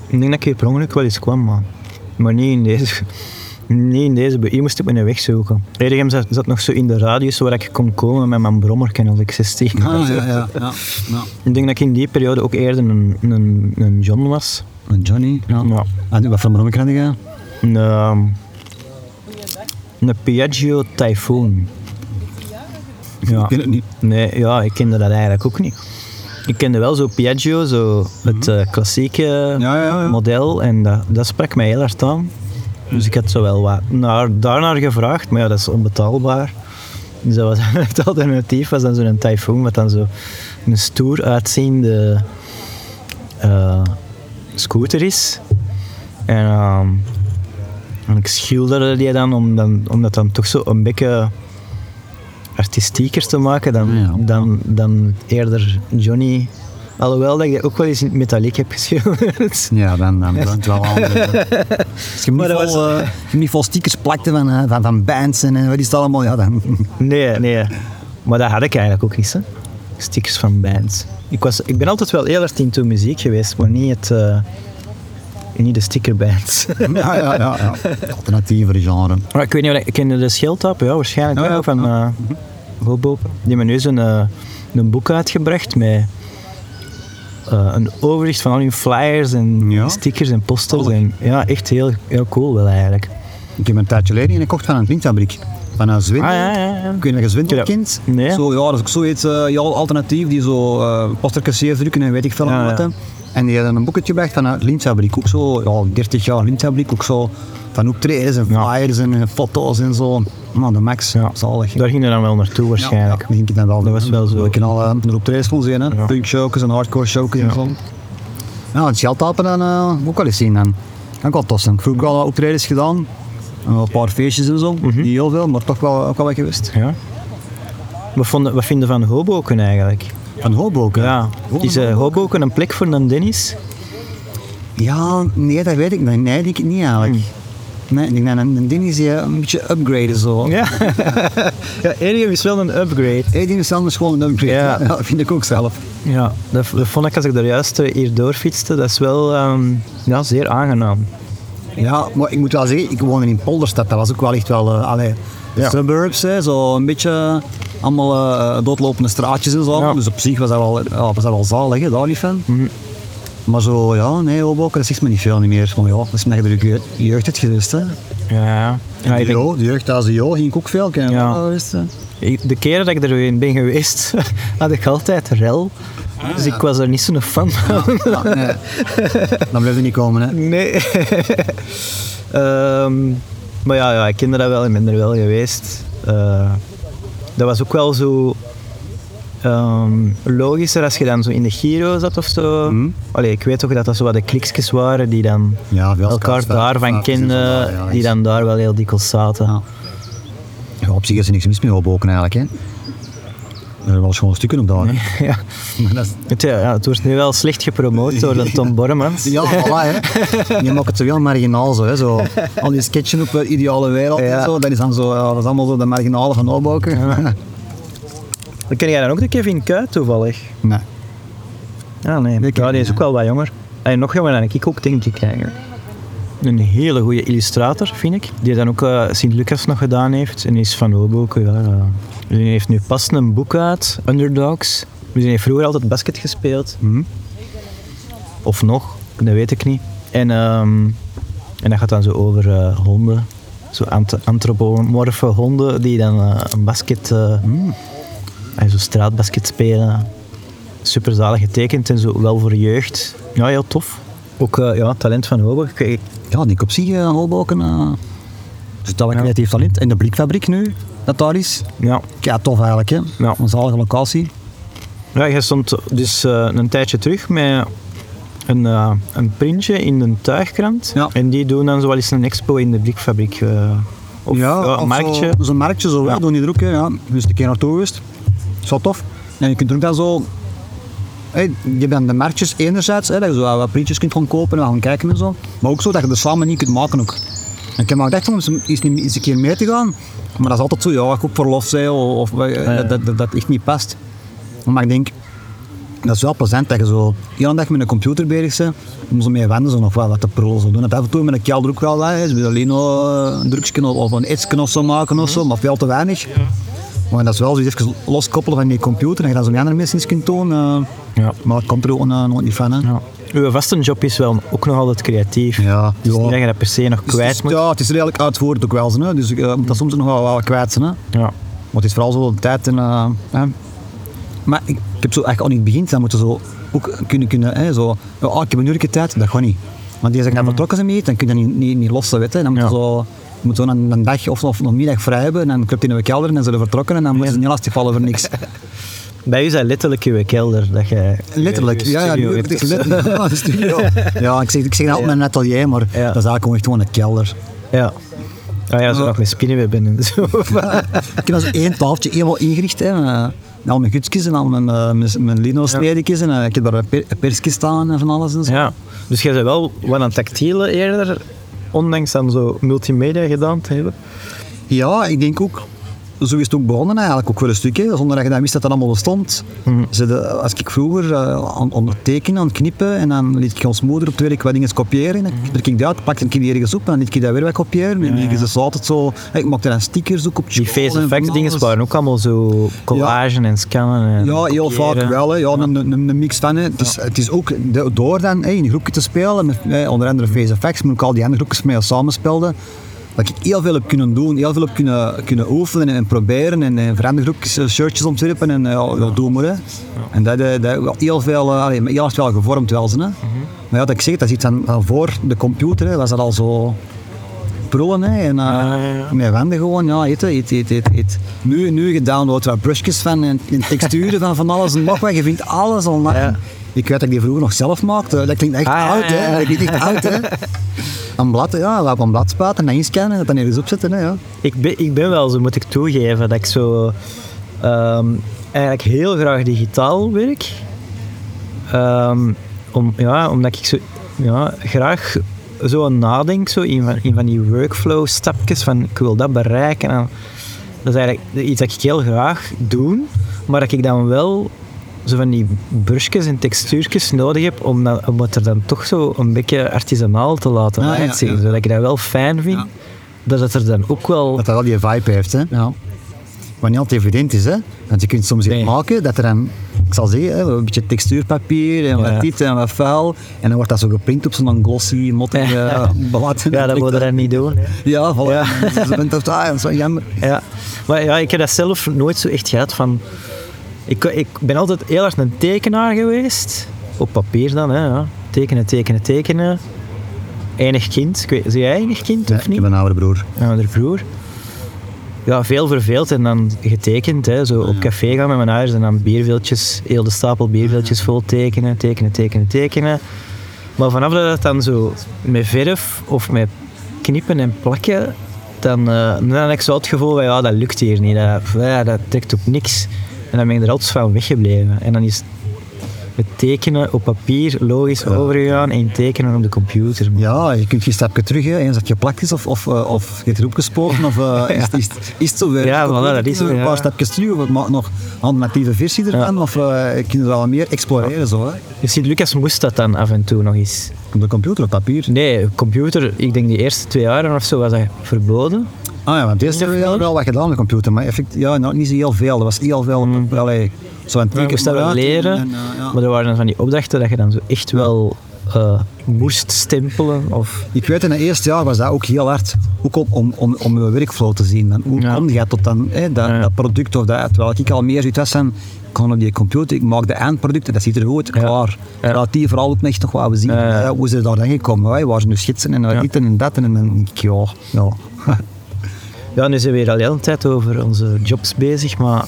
Ik denk dat ik hier per ongeluk wel eens kwam, maar, maar niet in deze. Niet in deze, be- hier moest ik me een weg zoeken. Edegem zat, zat nog zo in de radius waar ik kon komen met mijn brommerken als ik 16 was. ah, ja, ja, ja, ja. Ik denk dat ik in die periode ook eerder een, een, een John was. En Johnny, ja. Ja. En wat voor een kan ik gaan? Een, ehm, een Piaggio Typhoon. Ik Ja. weet het niet. Nee, ja, ik kende dat eigenlijk ook niet. Ik kende wel zo Piaggio, zo het eh, klassieke Mhm. Ja, ja, ja. model. En dat, dat sprak mij heel hard aan. Dus ik had zo wel wat naar, daarnaar gevraagd, maar ja, dat is onbetaalbaar. Dus dat was het alternatief was dan zo'n tyfoon, wat dan zo een stoer uitziende eh, scooter is. En, ehm, en ik schilderde die dan om, dan om dat dan toch zo een beetje artistieker te maken dan, Ja. dan, dan eerder Johnny. Alhoewel dat ik dat ook wel eens in het metaliek heb geschilderd. Ja, dan, dan, dan het wel anders. hè. Als je hem niet, Dus Maar dat vol, eh, als je hem niet vol stickers plakte van, eh, van, van bands en eh, wat is het allemaal, ja dan... Nee, nee. Maar dat had ik eigenlijk ook niet, hè. Stickers van bands. Ik, was, ik ben altijd wel heel erg into muziek geweest, maar niet, het, eh, niet de stickerbands. Ja, ja, ja. ja. Alternatieve genre. maar ik weet niet, of ik ken je de Schildtap, ja, waarschijnlijk Oh, ja. wel, van eh Hoboken. Die hebben nu zo'n eh, een boek uitgebracht met eh, een overzicht van al hun flyers en Ja. stickers en posters. En, ja, echt heel, heel cool wel eigenlijk. Ik heb een tijdje geleden een gekocht van een printfabriek. Van een Zwindel. Ah, ja, ja, ja. Ik weet niet of je Zwindel Ja. kent. Nee. Zo, ja, dat is ook zoiets eh ja, alternatief die zo eh postertjes drukken en weet ik veel Ja, wat. ja. hè. En die hadden een boeketje gebracht van een lintfabriek. Ook zo, ja, 30 jaar lintfabriek. Ook zo van optredens en Ja. flyers en eh, foto's en zo. Nou, de max. Ja. Zalig. Daar ging je dan wel naartoe waarschijnlijk. Ja, denk ik dan wel. Dat was wel zo. Ik kan al eh, naar optredens kon zien. hè. Ja. Punk showcase en hardcore showcase en Ja. zo. Ja, het Sheltapen dan eh, ook wel eens zien dan. Kan ik wel tof zijn. Ik heb ook al optredens gedaan. En wel Een paar feestjes en zo. Mhm. Niet heel veel, maar toch wel, ook wel wat geweest. Ja. Wat, vonden, wat vinden van Hoboken eigenlijk? Van Hoboken? Ja. Is eh, Hoboken een plek voor een Dennis? Ja, nee, dat weet ik niet. Nee, denk ik niet eigenlijk. Nee, ik denk dat een, een ding is die eh, een beetje upgraden zo. Mhm. Ja. ja, Edegem is wel een upgrade. Eén ding is anders gewoon een upgrade. Ja. Ja, dat vind ik ook zelf. Ja, dat, dat vond ik als ik daar juist eh, hier doorfietste. Dat is wel ehm, ja, zeer aangenaam. Ja, maar ik moet wel zeggen, ik woonde in Polderstad. Dat was ook wel echt wel, eh allee, de Ja. suburbs, hè, zo een beetje allemaal eh, doodlopende straatjes en zo. Ja. Mhm. Dus op zich was dat wel, ja, was dat wel zalig, hè, daar niet van. Maar zo, ja, nee, Hoboken, dat zegt me niet veel niet meer. Maar ja, dat is omdat je er je je jeugd hebt geweest, hè. Ja, ja. ik de, denk- jo, de jeugd als de jo ging ik ook veel kennen. Ja. Ja. wist je. ik- de keren dat ik er weer ben geweest, had ik altijd rel. Dus ik was er niet zo'n fan van. Ja, nee. Dan bleef je niet komen, hè. Nee. Ehm, maar ja, ja, ik kende dat wel en ben er wel geweest. Eh, dat was ook wel zo ehm, logischer als je dan zo in de Giro zat of zo. Hmm. Allee, ik weet toch dat dat zo wat de kliksjes waren die dan Ja, wel elkaar scouts, daarvan scouts en zo, kenden, ja, ja, die dan daar wel heel dikwijls zaten. Ja. Ja, op zich is er niks mis mee Hoboken eigenlijk, hè. Er zijn wel schone stukken op daar, hè. Ja. Maar dat is- Het, ja, het wordt nu wel slecht gepromoot door de Tom Bormans. Ja, voilà, hè. Je maakt het zo heel marginaal, zo, hè. Zo. Al die sketchen op eh, ideale wereld Ja. en zo, dat is dan zo, ja, dat is allemaal zo de marginale van opbouwen. Dan ken jij dan ook de Kevin Kuit toevallig? Nee. Ah nee, Ik ja, die niet, is ook wel wat jonger. En nog jonger dan ik ook, denk ik eigenlijk. een hele goede illustrator, vind ik. Die dan ook eh, Sint-Lucas nog gedaan heeft. En die is van Hoboken. Ja, ja. Die heeft nu pas een boek uit, Underdogs. Dus die heeft vroeger altijd basket gespeeld. Of nog, dat weet ik niet. En, ehm, en dat gaat dan zo over eh, honden. Zo ant- antropomorfe honden die dan eh, een basket... eh, en zo straatbasket spelen. Super zalig getekend en zo wel voor jeugd. Ja, heel tof. Ook eh, ja, talent van Hober. Ik- ik- Ja, Nick op zich, eh, Holboken. eh, dus dat wat creatief talent. En de blikfabriek nu, dat daar is. Ja. Ja, tof eigenlijk, hè. Ja. Een zalige locatie. ja, jij stond dus eh, een tijdje terug met een, eh, een printje in een tuigkrant. Ja. En die doen dan zo wel eens een expo in de blikfabriek. eh, of ja, of een marktje. zo- Zo'n marktje, zo, ja. Ja. doen die er ook. hè, Ja. Dus een keer naartoe geweest. Zo tof. En je kunt er ook dan zo... Hey, je bent de marktjes enerzijds, hè, dat je zo wat- wat printjes kunt gaan kopen en gaan kijken en zo. Maar ook zo dat je er samen niet kunt maken ook. En ik heb me gedacht om eens een- eens niet- eens een keer mee te gaan. Maar dat is altijd zo, ja, ik op verlof zijn of, of eh, dat, dat, dat, dat echt niet past. Maar ik denk, dat is wel plezant dat je zo de hele dag met een computer bezig bent. Om zo mee wennen zo nog wel wat te prullen. Zo doen het af en toe met een kelder ook wel. Hè. Ze willen alleen nog eh, een drugsken of- of een etsken of zo maken of zo, maar veel te weinig. Maar dat is wel zoiets even loskoppelen van die computer. En je dat zo die andere mensen eens kunt tonen. eh. Ja. Maar het komt er ook eh, nog niet van. Hè. Ja. Uw vaste job is wel ook nog altijd creatief. Ja. Dus Ja. niet dat je dat per se nog Dus het is- kwijt moet. ja, het is redelijk uitvoerig ook wel. zo, Hè. Dus eh, je moet dat soms nog wel, wel kwijt zijn. Hè. Ja. Maar het is vooral zo de tijd en... eh, hè. Maar ik, ik heb zo eigenlijk al in het begin, dan moeten zo ook kunnen, kunnen hè, zo... Ja, ah, ik heb een uurtje tijd, dat gaat niet. Want die zeggen, dat vertrokken ze mee, dan kun je dat niet, niet, niet lossen, weet je. Dan moet je Ja. zo... Je moet zo een, een dag of, of een middag vrij hebben, en dan klopt hij in de kelder en dan zullen vertrokken en dan moeten ze niet lastig vallen voor niks. Bij u is dat letterlijk uw kelder. Dat jij, Letterlijk, uw ja, ja, studio nu- hebt. het is letterlijk ja, de studio. Ja, ik zeg, ik zeg altijd mijn atelier, maar dat is eigenlijk gewoon echt gewoon een kelder. Ja. Ah ja, zo nog met spinnenwebben en zo. Ik heb dan zo één tafeltje helemaal ingericht. Hè. met, eh, Al mijn gutjes en al mijn, eh, mijn, mijn lino-snijdertjes. En eh, ik heb daar een per, een persje staan en van alles en zo. Ja. Dus jij bent wel wat aan tactiele eerder, ondanks dan zo multimedia gedaan te hebben. Ja, ik denk ook... Zo is het ook begonnen eigenlijk, ook wel een stukje. Zonder dat je dan wist dat dat allemaal bestond. Mhm. Ze de- als ik vroeger eh, aan, aan het tekenen, aan het knippen, en dan liet ik ons moeder op het werk wat dingen kopiëren. Dan Mhm. drukte ik dat uit, pakte ik die ergens op, en dan liet ik dat weer wat kopiëren. En die is altijd zo... Ik maakte dan stickers ook op Die school en face van effects dingen alles. waren ook allemaal zo collagen en scannen. En Ja, heel kopiëren. vaak wel. Hè. Ja, Een, een, een mix van. Hè. Het, is, het is ook de- door dan hè, in een groepje te spelen, met, hè, onder andere Face Effects, maar ook al die andere groepjes mee samenspeelden, dat ik heel veel heb kunnen doen, heel veel heb kunnen, kunnen oefenen en, proberen en, en voor andere groepjes eh, shirtjes ontwerpen en eh, ja, ja, doe maar. Hè. En dat, eh, dat wel heel veel, eh, allee, maar heel hard wel gevormd wel zijn. Hè. Maar ja, dat ik zeg, dat is iets aan, aan voor de computer, hè, was dat al zo prullen hè, en ja, Ah, ja. met wanden gewoon, ja, eten, eten, eten, eten, eten. Nu, nu gedownload wat brushjes van en, en texturen van van alles en nog wat. Je vindt alles online. Ik weet dat ik die vroeger nog zelf maakte. Dat klinkt echt Ah, ja, oud, hè. ja, ja. Dat klinkt echt oud, hè. Een blad, ja, laat op een blad spuiten en dan inscannen en dat dan ergens opzetten, hè. Ja. Ik ben, ik ben wel zo, moet ik toegeven, dat ik zo ehm, eigenlijk heel graag digitaal werk. Ehm, om, ja, omdat ik zo ja, graag zo aan nadenk, zo in, van, in van die workflow stapjes van ik wil dat bereiken. En dat is eigenlijk iets dat ik heel graag doe, maar dat ik dan wel zo van die brusjes en textuurtjes nodig heb om, dat, om het er dan toch zo een beetje artisanaal te laten Ah, ja, uitzien. ja. Zodat ik dat wel fijn vind. Ja. Dat het er dan ook wel Dat dat wel die vibe heeft, hè. Ja. Wat niet altijd evident is, hè. Want je kunt soms iets Nee. maken dat er dan... Ik zal zeggen, hè, een beetje textuurpapier en wat Ja. dit en wat vuil. En dan wordt dat zo geprint op zo'n glossy, mottige Ja. blad. Ja, dat moet je dan niet doen. hè. Ja, voilà. Dus je bent op ah, dat is wel jammer. Ja. Maar ja, ik heb dat zelf nooit zo echt gehad van... Ik, ik ben altijd heel hard een tekenaar geweest. Op papier dan, hè. Ja. Tekenen, tekenen, tekenen. Enig kind. Ik weet, zie jij enig kind Nee, of ik niet? heb een oude broer. Mijn ouder broer. Ja, veel verveeld en dan getekend. Hè. Zo op café gaan met mijn ouders en dan bierveeltjes, heel de stapel bierveeltjes vol tekenen, tekenen, tekenen, tekenen. Maar vanaf dat het dan zo met verf of met knippen en plakken, dan, eh, dan had ik zo het gevoel van ja, dat lukt hier niet, dat, ja, dat trekt op niks. En dan ben ik er altijd van weggebleven. En dan is met tekenen op papier logisch overgegaan en tekenen op de computer. Ja, je kunt geen stapje terug, hè. eens dat je plakt is of, of, eh, of je hebt erop gesproken of eh, is, het- is, het- is het zo weer. Ja, Ik voilà, weet dat niet, is het, Een ja. paar stapjes terug of ik maak nog een alternatieve versie ervan of eh, ik kan er al meer exploreren zo. Hè. Je ziet, Lucas moest dat dan af en toe nog eens. Op de computer, op papier. Nee, computer, ik denk die eerste twee jaren of zo was dat verboden. Ah ja, want deze Of hebben we niet? wel wat gedaan op de computer, maar effect, ja, nou, niet zo heel veel. Er was heel veel, Mm. op, allee, zo aan het Je tekenen moest dat wel uit en- leren, en, eh, ja. maar er waren dan van die opdrachten dat je dan zo echt wel eh, moest stempelen. Of, Ik weet, in het eerste jaar was dat ook heel hard. Ook om, om, om, om je workflow te zien. Dan, hoe Ja. kom je tot dan, hè, dat, Ja. dat product of dat? Terwijl ik al meer zoiets was van, ik kan op die computer, ik maak de eindproducten, dat ziet er goed, klaar. Ja. Laat die vooral ook echt nog wat we zien. Ja, ja. hè, Hoe ze daar dan gekomen? Hè? Waar ze nu schetsen en Ja. dit en dat. En dan denk ik, ja, ja. ja, nu zijn we hier al de hele tijd over onze jobs bezig, maar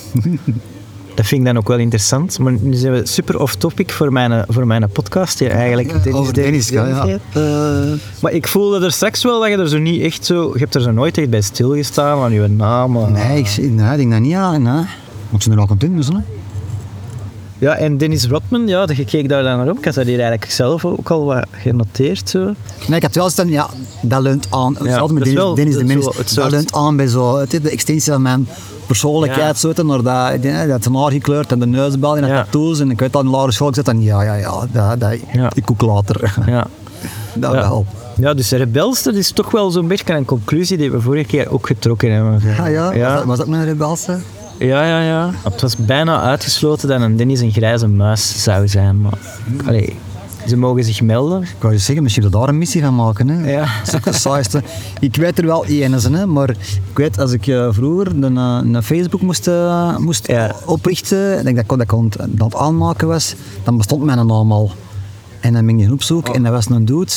dat vind ik dan ook wel interessant. Maar nu zijn we super off-topic voor mijn, eh, voor mijn podcast, die eigenlijk Dennis over deed. Dennis gaan, ja. deed. Maar ik voelde er straks wel dat je er zo niet echt zo... Je hebt er zo nooit echt bij stilgestaan, aan je naam. aan- Nee, ik zie- nee, ik denk dat niet aan. hè. Want ze zijn er al content dus, hè? Ja, en Dennis Rodman, ja, je keek daar dan naar op. Ik had dat hier eigenlijk zelf ook al wat genoteerd. Zo. Nee, ik had wel staan, ja, dat leunt aan. Hetzelfde dat met is Dennis, wel- Dennis dat de is Menace. wel het Dat soort- leunt aan bij zo, het is de extensie van mijn persoonlijkheid. Ja. Zo, het, naar dat, die- dat haar gekleurd en de neusbel en de Ja. tattoos. En ik weet dat in lagere school, ik zei dan, ja, ja, ja, dat, dat, Ja. ik ook later. Ja. dat ja. Ah, wel. Ja, dus rebels, dat is toch wel zo'n beetje een conclusie die we vorige keer ook getrokken hebben. Ah, Ja, ja, Was, Ja, dat, was dat mijn rebelse? ja, ja. ja. Het was bijna uitgesloten dat een Dennis een grijze muis zou zijn. Maar, allee, ze mogen zich melden. Ik wou je zeggen, misschien dat daar een missie van maken. Hè? Ja. Dat is ook de saaiste. Ik weet er wel één zijn, hè, maar ik weet als ik eh, vroeger een, eh, een Facebook moest, eh, moest Ja. oprichten, en ik dat, kon- dat ik aan het- aan het aanmaken was, dan bestond mijn naam al. En dan ben ik die op Oh. zoek en dat was een dude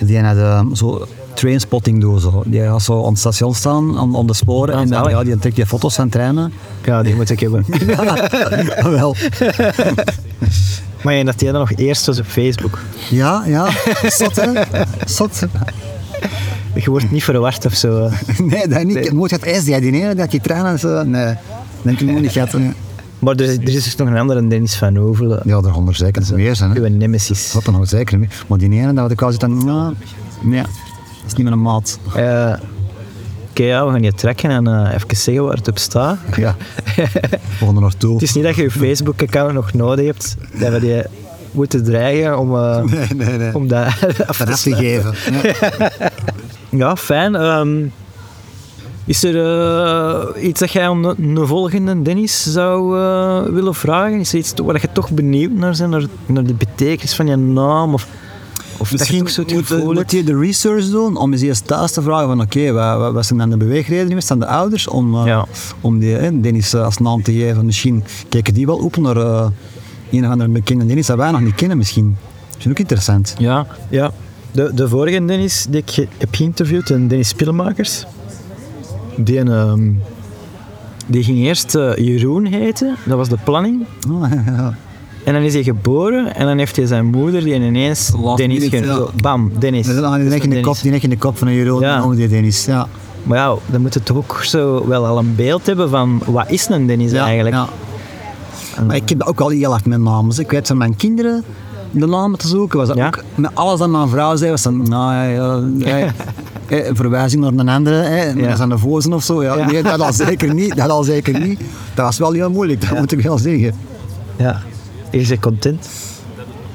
die had eh, zo trainspotting doen. Zo. Die gaat zo aan het station staan, aan, aan de sporen, Ah, en dan, zalig. ja, die trekt die foto's van treinen. Ja, die moet ik hebben. ja, wel. Maar ja, dat die dan nog eerst was op Facebook. Ja, ja. Zot, hè? Zot. Je wordt niet verward of zo. hè. Nee, dat niet. Moet je het ijs die dineren, dat die tranen zo... Nee, denk ik moet niet gaat. nee. Maar er is, er is dus nog een andere Dennis van Ovelen. Ja, er honderd zeker meer zijn. Hè. Uw nemesis. Wat dan ook zeker meer. Maar die ene, dat had ik al zitten, nou, nee, dat is niet mijn maat. Eh, Oké, ja, we gaan je trekken en eh, even zeggen waar het op staat. Ja, volgende naartoe. Het is niet dat je je Facebook-account nog nodig hebt, dat we die moeten dreigen om, eh, Nee, nee, nee. om dat af Dat te is te geven. Ja. Ja, fijn. ehm, is er eh, iets dat jij om de, de volgende Dennis zou eh, willen vragen? Is er iets waar je toch benieuwd naar bent, naar, naar de betekenis van je naam? Of, of Misschien dat je toch zo het moet, eh, gevoel moet hebt? je de research doen om eens eerst thuis te vragen van oké, wat- wat, wat zijn dan de beweegredenen geweest van de ouders om, eh, Ja. om die, eh, Dennis eh, als naam te geven. Misschien kijken die wel op naar eh, een of andere bekende Dennis dat wij nog niet kennen misschien. Dat is ook interessant. Ja, ja. De, de vorige Dennis die ik ge- heb geïnterviewd, een Dennis Pillemakers, die, een, ehm, die ging eerst eh, Jeroen heten, dat was de planning. Oh, ja, ja. En dan is hij geboren en dan heeft hij zijn moeder die ineens Last Dennis minute, genoemd. ja. Zo, Bam, Dennis. Dat is ah, die Dat is nek in de Dennis. kop, die nek in de kop van een euro, Ja. ja. die Dennis. Ja, Maar ja, dan moet je toch ook zo wel al een beeld hebben van wat is een Dennis ja, eigenlijk. ja. Maar ik heb dat ook wel heel hard met namen. Dus Ik weet van mijn kinderen de namen te zoeken. Was dat Ja. ook, met alles dat mijn vrouw zei, was dan, nou ja, ja, ja, eh, verwijzing naar een andere, hè, Ja. dat zijn de vozen of zo. Ja, Ja. Nee, dat al zeker niet, dat al zeker niet. Dat was wel heel moeilijk, dat moet ik wel zeggen. Ja. Is je content?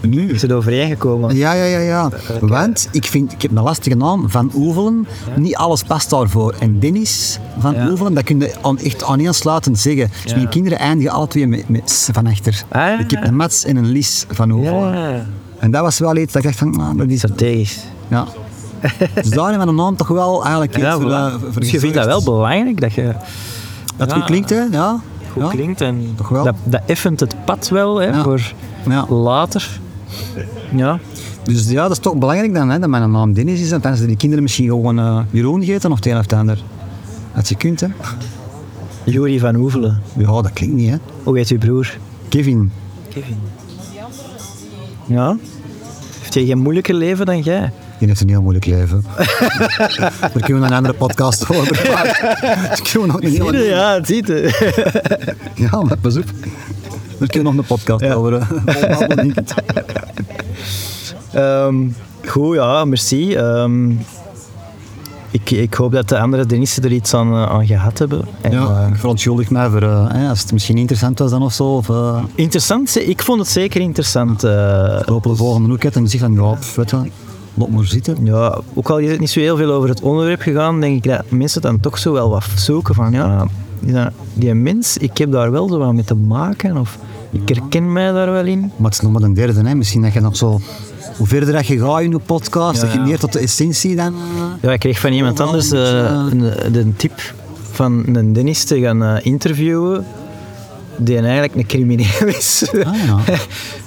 Nu? Is het overeengekomen? Ja, ja, ja, ja. Want ik vind, ik heb een lastige naam, Van Oevelen. Niet alles past daarvoor. En Dennis Van Ja. Oevelen, dat kun je aan, echt aaneensluitend zeggen. Dus Ja. mijn kinderen eindigen alle twee met, met S van achter. Ah, ja. Ik heb een Mats en een Lies Van Oevelen. En dat was wel iets dat ik dacht van, nou, dat is... Strategisch. Ja. dus daar hebben we een naam toch wel eigenlijk iets Ja, voor, eh, voilà. voor Dus je vindt gezorgd. dat wel belangrijk dat je Dat Ja. goed klinkt, hè? Ja. goed ja. klinkt en Toch wel. Dat, dat effent het pad wel hè, Ja. voor Ja. later. Ja. Dus ja, dat is toch belangrijk dan, hè, dat mijn naam Dennis is. En dan zijn die kinderen misschien gewoon eh, Jeroen geten of het een of het ander. Dat je kunt, hè. Jori van Oevelen. Ja, dat klinkt niet, hè. Hoe heet uw broer? Kevin. Kevin. Ja? Heeft hij geen moeilijker leven dan jij? Die heeft een heel moeilijk leven. Daar kunnen we een andere podcast over praten. Daar kunnen we nog een hele... het ziet. Ja, maar pas op. kunnen we nog een podcast Ja. over. eh, Bob Dylan. Ehm, goed, ja, merci. Ehm, ik, ik hoop dat de andere Denissen er iets aan, eh, aan gehad hebben. En, ja, eh, ik verontschuldig mij voor eh, hè, als het misschien interessant was dan of zo. Of, eh, interessant, ik vond het zeker interessant. eh, lopen de volgende ook uit en zeggen van ja, pff, weet je, wat, laat maar zitten. Ja, ook al is het niet zo heel veel over het onderwerp gegaan, denk ik dat mensen dan toch zo wel wat zoeken van ja, die, die mens, ik heb daar wel zo wat mee te maken of ik herken mij daar wel in. Maar het is nog maar een derde, hè. misschien dat je nog zo. Hoe verder dat je gaat in je podcast, Ja, dat je ja. meer tot de essentie dan. eh, Ja, ik kreeg van iemand Overal anders moet je, eh, een, de tip van een dentist te gaan eh, interviewen die eigenlijk een crimineel is. Ah, ja.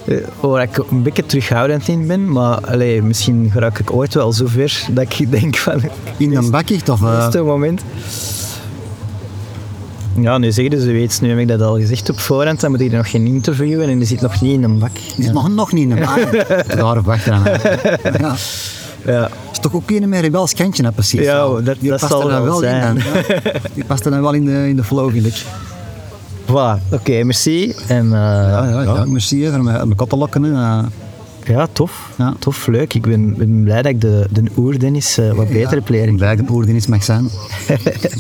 Eh, Waar ik een beetje terughoudend in ben, maar allee, misschien raak ik ooit wel zover dat ik denk van In een bakje of. eh, laatste moment. Ja, nu zeggen ze iets. Nu heb ik dat al gezegd op voorhand. Dan moet ik er nog geen interviewen en die zit nog niet in een bak. Die mag nog niet in de bak. Daar of wacht aan. Ja. Ja, Is toch ook een met rebels kantje, hè, precies. Nou, Ja, dat- die dat past zal er dan wel wel zijn. in. Dan, ja. Die past er dan wel in de, in de flow, vind ik. voilà. Oké, merci. En eh, Ah, Ja, ja, ja. merci hè, voor mijn, mijn kat te lokken. hè. Eh, ja, tof. Ja. Tof, leuk. Ik ben, ben blij dat ik de, de eh, oerdennis wat beter heb leren Ik ben blij dat ik de oordeel iets mag zijn.